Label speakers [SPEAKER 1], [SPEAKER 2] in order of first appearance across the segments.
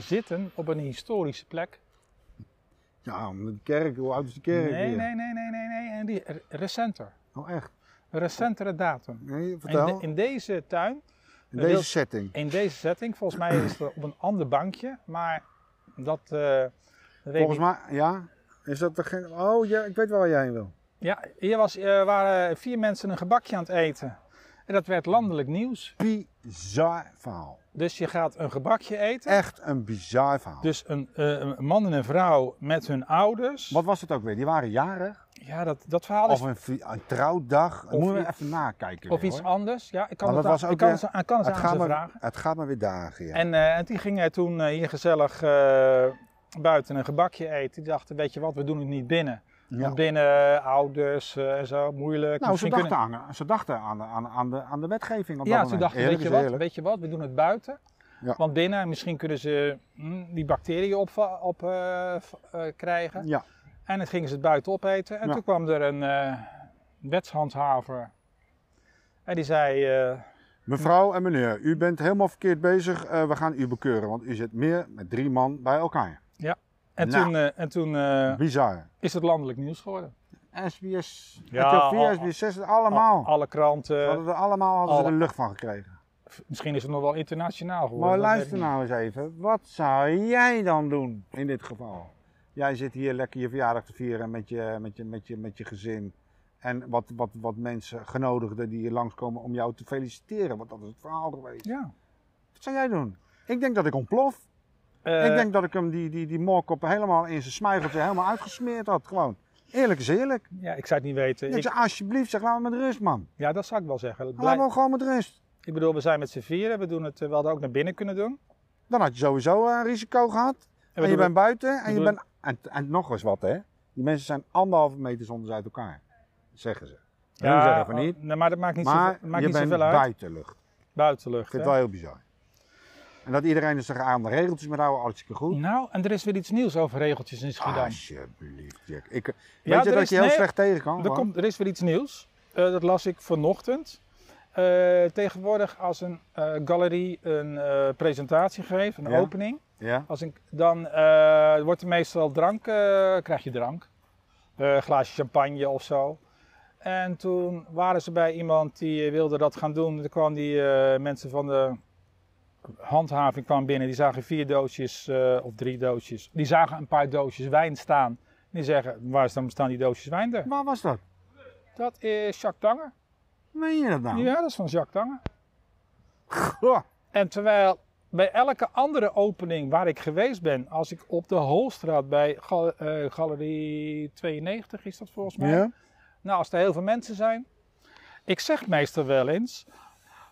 [SPEAKER 1] zitten op een historische plek.
[SPEAKER 2] Ja, omdat de kerk, hoe oud is de
[SPEAKER 1] Nee,
[SPEAKER 2] kerk weer?
[SPEAKER 1] nee, nee, nee, nee, nee. En die re- recenter.
[SPEAKER 2] Oh echt?
[SPEAKER 1] Een recentere datum.
[SPEAKER 2] Nee,
[SPEAKER 1] In,
[SPEAKER 2] vertel.
[SPEAKER 1] de- in deze tuin, eh,
[SPEAKER 2] in
[SPEAKER 1] wil-
[SPEAKER 2] deze setting.
[SPEAKER 1] in deze setting, volgens mij is het op een ander bankje, maar dat. eh, dat weet ik
[SPEAKER 2] Volgens
[SPEAKER 1] niet.
[SPEAKER 2] mij, ja. Is dat er geen... Oh, ja, ik weet wel waar jij heen wil.
[SPEAKER 1] Ja, hier was, eh, waren vier mensen een gebakje aan het eten. En dat werd landelijk nieuws.
[SPEAKER 2] Bizar verhaal.
[SPEAKER 1] Dus je gaat een gebakje eten.
[SPEAKER 2] Echt een bizar verhaal.
[SPEAKER 1] Dus een, eh, een man en een vrouw met hun ouders.
[SPEAKER 2] Wat was het ook weer? Die waren jarig?
[SPEAKER 1] Ja, dat, dat verhaal is.
[SPEAKER 2] Of een, vi- een trouwdag?
[SPEAKER 1] Of
[SPEAKER 2] Moeten we
[SPEAKER 1] i-
[SPEAKER 2] even nakijken
[SPEAKER 1] Of
[SPEAKER 2] weer,
[SPEAKER 1] iets
[SPEAKER 2] hoor.
[SPEAKER 1] anders. Ja, ik kan
[SPEAKER 2] Maar
[SPEAKER 1] het
[SPEAKER 2] dat
[SPEAKER 1] aan,
[SPEAKER 2] was
[SPEAKER 1] ik
[SPEAKER 2] ook
[SPEAKER 1] kan
[SPEAKER 2] weer-
[SPEAKER 1] het aan- ik kan het
[SPEAKER 2] Het
[SPEAKER 1] aan ze
[SPEAKER 2] gaat, maar,
[SPEAKER 1] vragen.
[SPEAKER 2] het gaat maar weer dagen, ja.
[SPEAKER 1] En, eh, en die gingen toen eh, hier gezellig eh, buiten een gebakje eten. Die dachten, weet je wat, we doen het niet binnen.
[SPEAKER 2] Ja.
[SPEAKER 1] Want binnen, eh, ouders eh, en zo, moeilijk.
[SPEAKER 2] Nou, ze
[SPEAKER 1] Misschien
[SPEAKER 2] dachten,
[SPEAKER 1] kunnen-
[SPEAKER 2] aan, ze dachten aan, aan, aan, de, aan de wetgeving op
[SPEAKER 1] Ja,
[SPEAKER 2] dat
[SPEAKER 1] toen
[SPEAKER 2] moment.
[SPEAKER 1] dachten we,
[SPEAKER 2] Eerlijk
[SPEAKER 1] weet je,
[SPEAKER 2] is
[SPEAKER 1] wat,
[SPEAKER 2] eerlijk.
[SPEAKER 1] weet je wat, we doen het buiten.
[SPEAKER 2] Ja.
[SPEAKER 1] Want binnen, misschien kunnen ze hm, die bacteriën op, op eh, v- eh, krijgen.
[SPEAKER 2] Ja,
[SPEAKER 1] En dan gingen ze het buiten opeten. En
[SPEAKER 2] Ja.
[SPEAKER 1] toen kwam er een eh, wetshandhaver. En die zei, eh,
[SPEAKER 2] Mevrouw en meneer, u bent helemaal verkeerd bezig. Eh, we gaan u bekeuren, want u zit meer met drie man bij elkaar.
[SPEAKER 1] en,
[SPEAKER 2] Nou.
[SPEAKER 1] toen, eh, en toen eh,
[SPEAKER 2] Bizar.
[SPEAKER 1] is het landelijk nieuws geworden.
[SPEAKER 2] SBS,
[SPEAKER 1] Ja,
[SPEAKER 2] ja,
[SPEAKER 1] al-
[SPEAKER 2] 4, SBS 6, allemaal.
[SPEAKER 1] Al- alle
[SPEAKER 2] Ze
[SPEAKER 1] kranten.
[SPEAKER 2] hadden er allemaal hadden ze
[SPEAKER 1] alle-
[SPEAKER 2] er lucht van gekregen.
[SPEAKER 1] F- Misschien is het nog wel internationaal geworden.
[SPEAKER 2] Maar
[SPEAKER 1] Oh, dat weet
[SPEAKER 2] luister
[SPEAKER 1] ik
[SPEAKER 2] nou eens even. Wat zou jij dan doen in dit geval? Jij zit hier lekker je verjaardag te vieren met je, met je, met je, met je gezin. En wat, wat, wat mensen, genodigden die hier langskomen om jou te feliciteren. Want dat is het verhaal geweest.
[SPEAKER 1] niet. Ja.
[SPEAKER 2] Wat zou jij doen? Ik denk dat ik ontplof.
[SPEAKER 1] Eh,
[SPEAKER 2] Ik denk dat ik hem die, die, die moorkop helemaal in zijn smuigeltje helemaal uitgesmeerd had. Gewoon. Eerlijk is eerlijk.
[SPEAKER 1] ja, ik zou het niet weten.
[SPEAKER 2] Ik
[SPEAKER 1] Ik,
[SPEAKER 2] zeg, alsjeblieft, zeg, laat me met rust, man.
[SPEAKER 1] ja, dat zou ik wel zeggen. Blij-
[SPEAKER 2] Laat me gewoon met rust.
[SPEAKER 1] ik bedoel, we zijn met z'n vieren. We, doen het, eh, we hadden ook naar binnen kunnen doen.
[SPEAKER 2] Dan had je sowieso eh, een risico gehad.
[SPEAKER 1] we
[SPEAKER 2] En, Ah, je
[SPEAKER 1] doen
[SPEAKER 2] bent buiten en je
[SPEAKER 1] doen-
[SPEAKER 2] bent... En, en nog eens wat, hè. Die mensen zijn anderhalve meter zonder uit elkaar. Zeggen ze.
[SPEAKER 1] het-
[SPEAKER 2] Ja, zeggen van niet.
[SPEAKER 1] oh, nee, maar dat maakt niet,
[SPEAKER 2] Maar
[SPEAKER 1] zoveel, maakt
[SPEAKER 2] je
[SPEAKER 1] niet
[SPEAKER 2] bent
[SPEAKER 1] zoveel uit.
[SPEAKER 2] buitenlucht. Ik
[SPEAKER 1] Buitenlucht.
[SPEAKER 2] vind
[SPEAKER 1] hè?
[SPEAKER 2] het wel heel bizar. En dat iedereen er zich aan de regeltjes moet houden, hartstikke goed.
[SPEAKER 1] Nou, en er is weer iets nieuws over regeltjes in
[SPEAKER 2] Ah,
[SPEAKER 1] Schiedam.
[SPEAKER 2] Alsjeblieft, Jack. Ik, weet
[SPEAKER 1] Ja,
[SPEAKER 2] je
[SPEAKER 1] er
[SPEAKER 2] dat
[SPEAKER 1] is-
[SPEAKER 2] je heel
[SPEAKER 1] nee,
[SPEAKER 2] slecht tegen kan?
[SPEAKER 1] er,
[SPEAKER 2] gewoon?
[SPEAKER 1] komt, er is weer iets nieuws. Eh, dat las ik vanochtend. Eh, tegenwoordig als een eh, galerie een eh, presentatie geeft, een
[SPEAKER 2] Ja.
[SPEAKER 1] opening.
[SPEAKER 2] Ja?
[SPEAKER 1] Als een, dan eh, wordt er meestal drank, eh, krijg je drank. Eh, een glaasje champagne of zo. En toen waren ze bij iemand die eh, wilde dat gaan doen. Toen kwamen die eh, mensen van de handhaving kwamen binnen. Die zagen vier doosjes eh, of drie doosjes. Die zagen een paar doosjes wijn staan. En die zeggen, waar staan staan die doosjes wijn er?
[SPEAKER 2] Waar was dat?
[SPEAKER 1] Dat is Jacques Tanger.
[SPEAKER 2] Meen je dat nou?
[SPEAKER 1] Ja, dat is van Jacques Tanger.
[SPEAKER 2] Goh.
[SPEAKER 1] En terwijl bij elke andere opening waar ik geweest ben, als ik op de Holstraat bij gal- eh, Galerie 92 is dat volgens mij.
[SPEAKER 2] Ja?
[SPEAKER 1] Nou, als er heel veel mensen zijn. Ik zeg meestal wel eens.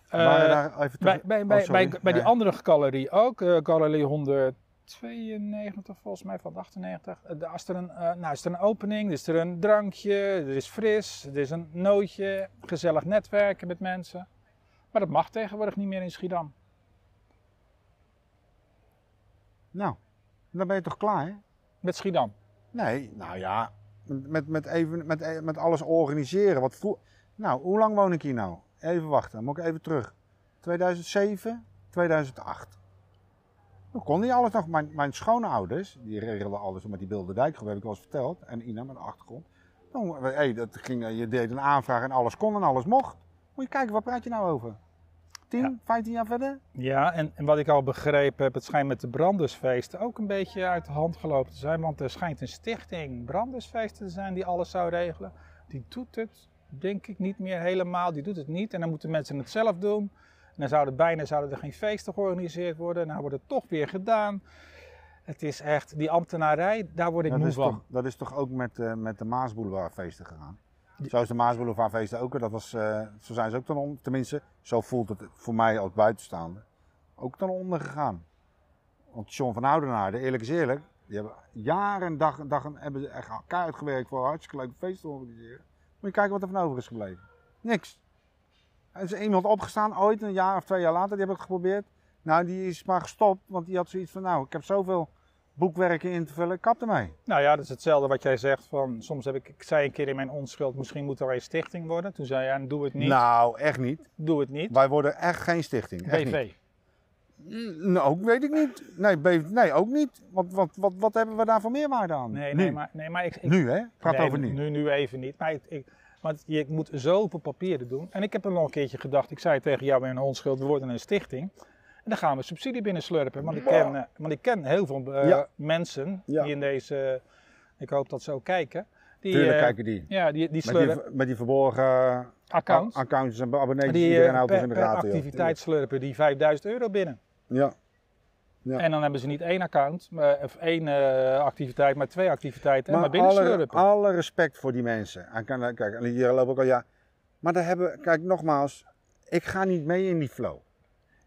[SPEAKER 1] eh,
[SPEAKER 2] Waren daar even
[SPEAKER 1] bij,
[SPEAKER 2] terug-
[SPEAKER 1] bij,
[SPEAKER 2] Oh,
[SPEAKER 1] bij,
[SPEAKER 2] sorry.
[SPEAKER 1] bij, bij die
[SPEAKER 2] Ja.
[SPEAKER 1] andere galerie ook, eh, Galerie 192 volgens mij van de 98. Eh, daar is er, een, eh, nou, is er een opening, is er een drankje, er is fris, er is een nootje, gezellig netwerken met mensen. Maar dat mag tegenwoordig niet meer in Schiedam.
[SPEAKER 2] Nou, dan ben je toch klaar, hè?
[SPEAKER 1] Met Schiedam.
[SPEAKER 2] Nee, nou ja, met, met, even, met, met alles organiseren. Wat vroeg... Nou, hoe lang woon ik hier nou? Even wachten, moet ik even terug. 2007, 2008. Toen kon niet alles nog. Mijn, mijn schoonouders, die regelden alles met die Bilderdijk, heb ik wel eens verteld. En Ina met de achtergrond. Toen, hey, dat ging, eh, je deed een aanvraag en alles kon en alles mocht. Moet je kijken, waar praat je nou over? 10,
[SPEAKER 1] Ja.
[SPEAKER 2] 15 jaar verder?
[SPEAKER 1] Ja, en, en wat ik al begrepen heb, het schijnt met de brandersfeesten ook een beetje uit de hand gelopen te zijn. Want er schijnt een stichting brandersfeesten te zijn die alles zou regelen. Die doet het, denk ik, niet meer helemaal. Die doet het niet. En dan moeten mensen het zelf doen. En dan zouden bijna zouden er geen feesten georganiseerd worden. Nou wordt het toch weer gedaan. Het is echt, die ambtenarij, daar word ik
[SPEAKER 2] Dat
[SPEAKER 1] moe
[SPEAKER 2] is,
[SPEAKER 1] van.
[SPEAKER 2] toch, dat is toch ook met, eh, met de Maasboulevardfeesten gegaan? Zo is de Maasboulevardfeesten ook. Dat was, eh, zo zijn ze ook dan om, tenminste, zo voelt het voor mij als buitenstaander, ook dan onder gegaan. Want John van Oudenaarde, eerlijk is eerlijk, die hebben jaren en dag, dag en- hebben ze echt elkaar uitgewerkt voor een hartstikke leuk feest te organiseren. Moet je kijken wat er van over is gebleven. Niks. Er is iemand opgestaan ooit, een jaar of twee jaar later, die heb ik geprobeerd. Nou, die is maar gestopt, want die had zoiets van, nou, ik heb zoveel boekwerken in te vullen, kap ermee.
[SPEAKER 1] Nou ja, dat is hetzelfde wat jij zegt. Van, soms heb ik, ik zei een keer in mijn onschuld, misschien moet er een stichting worden. Toen zei hij, doe het niet,
[SPEAKER 2] Nou, echt niet.
[SPEAKER 1] doe het niet.
[SPEAKER 2] Wij worden echt geen stichting. Echt
[SPEAKER 1] BV.
[SPEAKER 2] niet. Mm, Nou, ook weet ik niet. Nee, be- nee ook niet. Want wat, wat, wat hebben we daar voor meerwaarde aan?
[SPEAKER 1] Nee,
[SPEAKER 2] nu.
[SPEAKER 1] nee, maar, nee, maar ik, ik,
[SPEAKER 2] nu, hè? Het gaat
[SPEAKER 1] nee,
[SPEAKER 2] over nu.
[SPEAKER 1] nu. Nu even niet. Maar ik, ik- want je moet zoveel papieren doen. En ik heb er nog een keertje gedacht. Ik zei tegen jou in onschuld, we worden een stichting. En dan gaan we subsidie binnen slurpen. Want ik ken, eh, want ik ken heel veel eh,
[SPEAKER 2] Ja.
[SPEAKER 1] mensen
[SPEAKER 2] Ja.
[SPEAKER 1] die in deze... Ik hoop dat ze ook kijken. Die,
[SPEAKER 2] Tuurlijk
[SPEAKER 1] eh,
[SPEAKER 2] kijken die.
[SPEAKER 1] Ja, die, die
[SPEAKER 2] Met die,
[SPEAKER 1] slurpen
[SPEAKER 2] met die verborgen
[SPEAKER 1] accounts.
[SPEAKER 2] a- accountjes en abonnees die
[SPEAKER 1] die
[SPEAKER 2] iedereen
[SPEAKER 1] eh,
[SPEAKER 2] houdt dus
[SPEAKER 1] per,
[SPEAKER 2] in de
[SPEAKER 1] per
[SPEAKER 2] gaten. joh.
[SPEAKER 1] activiteit slurpen die 5000 euro binnen.
[SPEAKER 2] Ja. Ja.
[SPEAKER 1] En dan hebben ze niet één account, maar, of één eh, activiteit, maar twee activiteiten. en
[SPEAKER 2] Maar
[SPEAKER 1] maar binnen
[SPEAKER 2] alle,
[SPEAKER 1] slurpen.
[SPEAKER 2] alle respect voor die mensen. En kan, kijk, en hier lopen ook al ja. Maar daar hebben, kijk nogmaals, ik ga niet mee in die flow.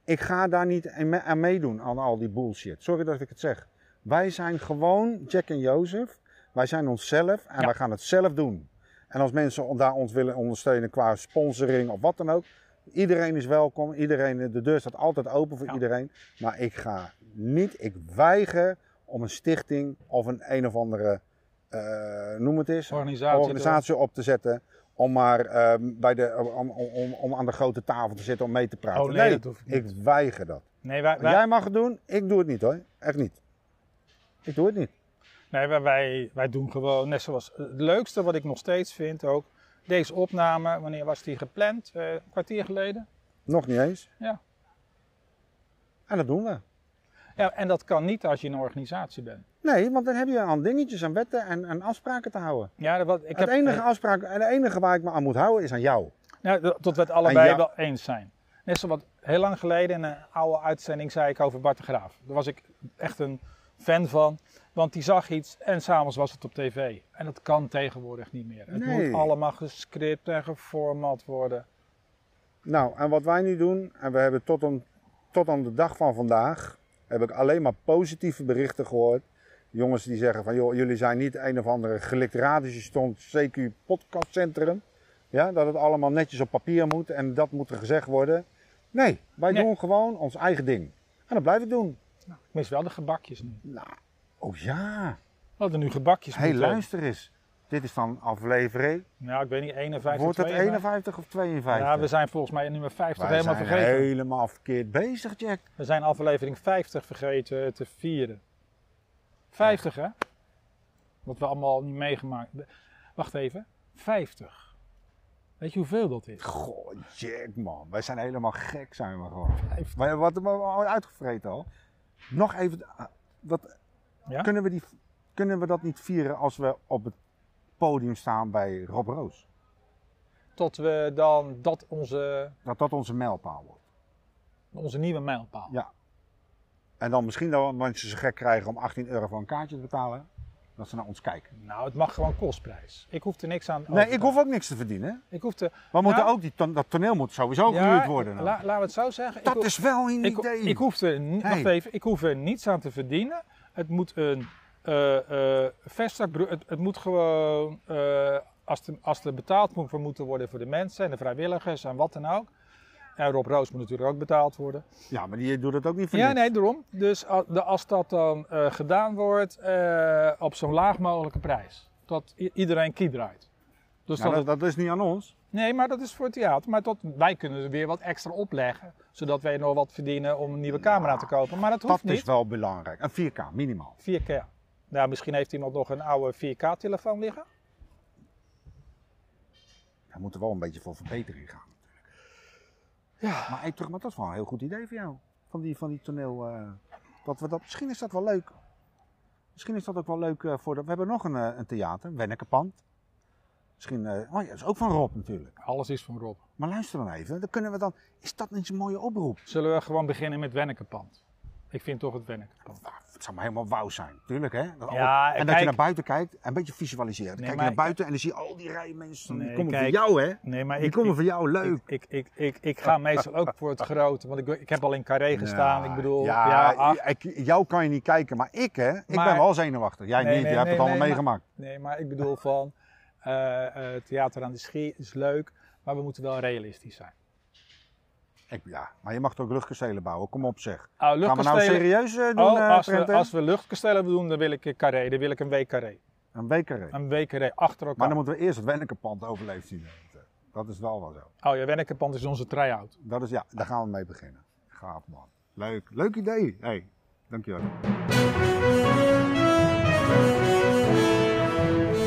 [SPEAKER 2] Ik ga daar niet aan me- aan meedoen aan al die bullshit. Sorry dat ik het zeg. Wij zijn gewoon Jack en Jozef. Wij zijn onszelf en
[SPEAKER 1] Ja.
[SPEAKER 2] wij gaan het zelf doen. En als mensen on- daar ons willen ondersteunen qua sponsoring of wat dan ook. Iedereen is welkom. Iedereen, de deur staat altijd open voor
[SPEAKER 1] Ja.
[SPEAKER 2] iedereen. Maar ik ga niet, ik weiger om een stichting of een een of andere, eh, noem het eens,
[SPEAKER 1] Organisatie.
[SPEAKER 2] organisatie op te zetten. Om maar eh, bij de, om, om, om, om aan de grote tafel te zitten om mee te praten.
[SPEAKER 1] Oh, nee, dat hoeft niet.
[SPEAKER 2] ik weiger dat.
[SPEAKER 1] Nee, wij, wij,
[SPEAKER 2] Jij mag het doen, ik doe het niet hoor. Echt niet. Ik doe het niet.
[SPEAKER 1] nee wij, wij, wij doen gewoon net zoals... Het leukste wat ik nog steeds vind ook, deze opname, wanneer was die gepland? Eh, een kwartier geleden?
[SPEAKER 2] Nog niet eens.
[SPEAKER 1] Ja.
[SPEAKER 2] En dat doen we.
[SPEAKER 1] ja. En dat kan niet als je in een organisatie bent.
[SPEAKER 2] Nee, want dan heb je aan dingetjes, aan wetten en aan afspraken te houden.
[SPEAKER 1] Ja, dat, wat, ik
[SPEAKER 2] het
[SPEAKER 1] heb,
[SPEAKER 2] enige
[SPEAKER 1] eh,
[SPEAKER 2] afspraak, en de enige waar ik me aan moet houden is aan jou.
[SPEAKER 1] nou, dat- dat we het allebei
[SPEAKER 2] En ja-
[SPEAKER 1] wel eens zijn. Net zoals wat heel lang geleden in een oude uitzending zei ik over Bart de Graaf. Daar was ik echt een fan van. Want die zag iets en s'avonds was het op tv. En dat kan tegenwoordig niet meer. Het
[SPEAKER 2] Nee.
[SPEAKER 1] moet allemaal gescript en geformat worden.
[SPEAKER 2] Nou, en wat wij nu doen, en we hebben tot aan, tot aan de dag van vandaag, heb ik alleen maar positieve berichten gehoord. Jongens die zeggen van, joh, jullie zijn niet een of andere gelikt radertje stond CQ podcastcentrum. Ja, dat het allemaal netjes op papier moet en dat moet er gezegd worden. Nee, wij
[SPEAKER 1] Nee.
[SPEAKER 2] doen gewoon ons eigen ding. En dat blijven we doen.
[SPEAKER 1] Ik mis wel de gebakjes nu.
[SPEAKER 2] Oh ja,
[SPEAKER 1] We hadden nu gebakjes
[SPEAKER 2] hey,
[SPEAKER 1] moeten
[SPEAKER 2] luister eens. Dit is dan aflevering,
[SPEAKER 1] hebben. Nou, ik weet niet, 51,
[SPEAKER 2] wordt het
[SPEAKER 1] 52?
[SPEAKER 2] 51 of 52?
[SPEAKER 1] Ja, we zijn volgens mij nummer 50
[SPEAKER 2] Wij
[SPEAKER 1] helemaal
[SPEAKER 2] zijn
[SPEAKER 1] vergeten.
[SPEAKER 2] helemaal verkeerd bezig, Jack.
[SPEAKER 1] We zijn aflevering 50 vergeten eh, te vieren. 50 hè? Wat we allemaal niet meegemaakt Wacht even. 50. Weet je hoeveel dat is?
[SPEAKER 2] Goh, Jack man, wij zijn helemaal gek zijn we gewoon. Maar wat hebben we al uitgevreten al? Nog even, ah, wat,
[SPEAKER 1] Ja?
[SPEAKER 2] kunnen, we die, kunnen we dat niet vieren als we op het podium staan bij Rob Roos?
[SPEAKER 1] Tot we dan dat onze,
[SPEAKER 2] Dat dat onze mijlpaal wordt.
[SPEAKER 1] onze nieuwe mijlpaal.
[SPEAKER 2] Ja. En dan misschien dat mensen ze gek krijgen om 18 euro voor een kaartje te betalen. Dat ze naar ons kijken.
[SPEAKER 1] Nou, het mag gewoon kostprijs. Ik hoef er niks aan.
[SPEAKER 2] Nee,
[SPEAKER 1] over te-
[SPEAKER 2] ik hoef ook niks te verdienen.
[SPEAKER 1] Ik hoef te.
[SPEAKER 2] We moeten
[SPEAKER 1] Nou,
[SPEAKER 2] ook, die ton- dat toneel moet sowieso
[SPEAKER 1] ja,
[SPEAKER 2] gehuurd worden.
[SPEAKER 1] la-
[SPEAKER 2] nou.
[SPEAKER 1] Laten we het zo zeggen. ik
[SPEAKER 2] Dat
[SPEAKER 1] hoef-
[SPEAKER 2] is wel een
[SPEAKER 1] Ik,
[SPEAKER 2] idee.
[SPEAKER 1] ik, hoef er, ni-
[SPEAKER 2] Hey.
[SPEAKER 1] wacht even, ik hoef er niets aan te verdienen. Het moet een eh eh vestzakbro- Het, het moet gewoon. eh, als, er, als er betaald moet voor moeten worden voor de mensen en de vrijwilligers en wat dan ook. En Rob Roos moet natuurlijk ook betaald worden.
[SPEAKER 2] Ja, maar die doet dat ook niet voor
[SPEAKER 1] Ja,
[SPEAKER 2] niks.
[SPEAKER 1] nee, daarom. Dus a- de- als dat dan eh, gedaan wordt eh, op zo'n laag mogelijke prijs. Dat i- iedereen key draait. Dus
[SPEAKER 2] Nou,
[SPEAKER 1] dat
[SPEAKER 2] dat, dat is niet aan ons.
[SPEAKER 1] Nee, maar dat is voor het theater. Maar tot, wij kunnen er weer wat extra opleggen. Zodat wij nog wat verdienen om een nieuwe camera te kopen. Maar dat
[SPEAKER 2] Dat
[SPEAKER 1] hoeft
[SPEAKER 2] is
[SPEAKER 1] niet.
[SPEAKER 2] wel belangrijk. Een 4K minimaal.
[SPEAKER 1] 4K. Nou, misschien heeft iemand nog een oude 4K-telefoon liggen.
[SPEAKER 2] Daar moet er wel een beetje voor verbetering gaan. natuurlijk. Maar, hey, terug, maar dat is wel een heel goed idee voor jou. Van die, van die toneel. eh, dat we dat, misschien is dat wel leuk. Misschien is dat ook wel leuk eh, voor de. We hebben nog een, eh, een theater, Wennekenpand. Misschien. eh, oh ja, dat is ook van Rob natuurlijk.
[SPEAKER 1] Alles is van Rob.
[SPEAKER 2] Maar luister dan even. Dan kunnen we dan. Is dat niet zo'n mooie oproep?
[SPEAKER 1] Zullen we gewoon beginnen met Wennekenpand? Ik vind toch het Wennekenpand.
[SPEAKER 2] Nou, het zou maar helemaal wauw zijn, tuurlijk hè? Dat
[SPEAKER 1] Ja,
[SPEAKER 2] en dat
[SPEAKER 1] kijk-
[SPEAKER 2] je naar buiten kijkt en een beetje visualiseren. Dan
[SPEAKER 1] Nee,
[SPEAKER 2] kijk je
[SPEAKER 1] maar-
[SPEAKER 2] naar buiten en dan zie je al die rijen mensen. die
[SPEAKER 1] Nee,
[SPEAKER 2] komen
[SPEAKER 1] kijk,
[SPEAKER 2] voor jou hè?
[SPEAKER 1] Nee, maar
[SPEAKER 2] Die komen voor jou, leuk.
[SPEAKER 1] ik, ik, ik, ik, ik ga meestal ook voor het grote. Want ik, ik heb al in Carré gestaan.
[SPEAKER 2] Ja,
[SPEAKER 1] ik bedoel,
[SPEAKER 2] ja,
[SPEAKER 1] ja, ach.
[SPEAKER 2] ik, jou kan je niet kijken, maar ik hè, ik
[SPEAKER 1] Maar-
[SPEAKER 2] ben wel zenuwachtig. Jij
[SPEAKER 1] Nee,
[SPEAKER 2] niet,
[SPEAKER 1] nee,
[SPEAKER 2] jij hebt
[SPEAKER 1] nee,
[SPEAKER 2] het allemaal
[SPEAKER 1] nee,
[SPEAKER 2] meegemaakt.
[SPEAKER 1] Nee, maar ik bedoel van... eh, eh, theater aan de Schie is leuk. Maar we moeten wel realistisch zijn.
[SPEAKER 2] Ik, ja, maar je mag toch luchtkastelen bouwen, kom op zeg.
[SPEAKER 1] Oh,
[SPEAKER 2] Gaan we nou
[SPEAKER 1] luchtkastelen-
[SPEAKER 2] serieus eh, doen,
[SPEAKER 1] Oh,
[SPEAKER 2] eh,
[SPEAKER 1] als, we,
[SPEAKER 2] Prenten?
[SPEAKER 1] als we luchtkastelen doen, dan wil ik een carré. Dan wil ik een week carré.
[SPEAKER 2] Een week erin.
[SPEAKER 1] Een week carré achter
[SPEAKER 2] Maar
[SPEAKER 1] elkaar.
[SPEAKER 2] dan moeten we eerst het Wennekenpand overleefd zien. Dat is wel wel zo.
[SPEAKER 1] Oh ja, Wennekenpand is onze try-out.
[SPEAKER 2] Dat is, ja, daar gaan we mee beginnen. Gaaf man. Leuk. Leuk idee. hey, dankjewel.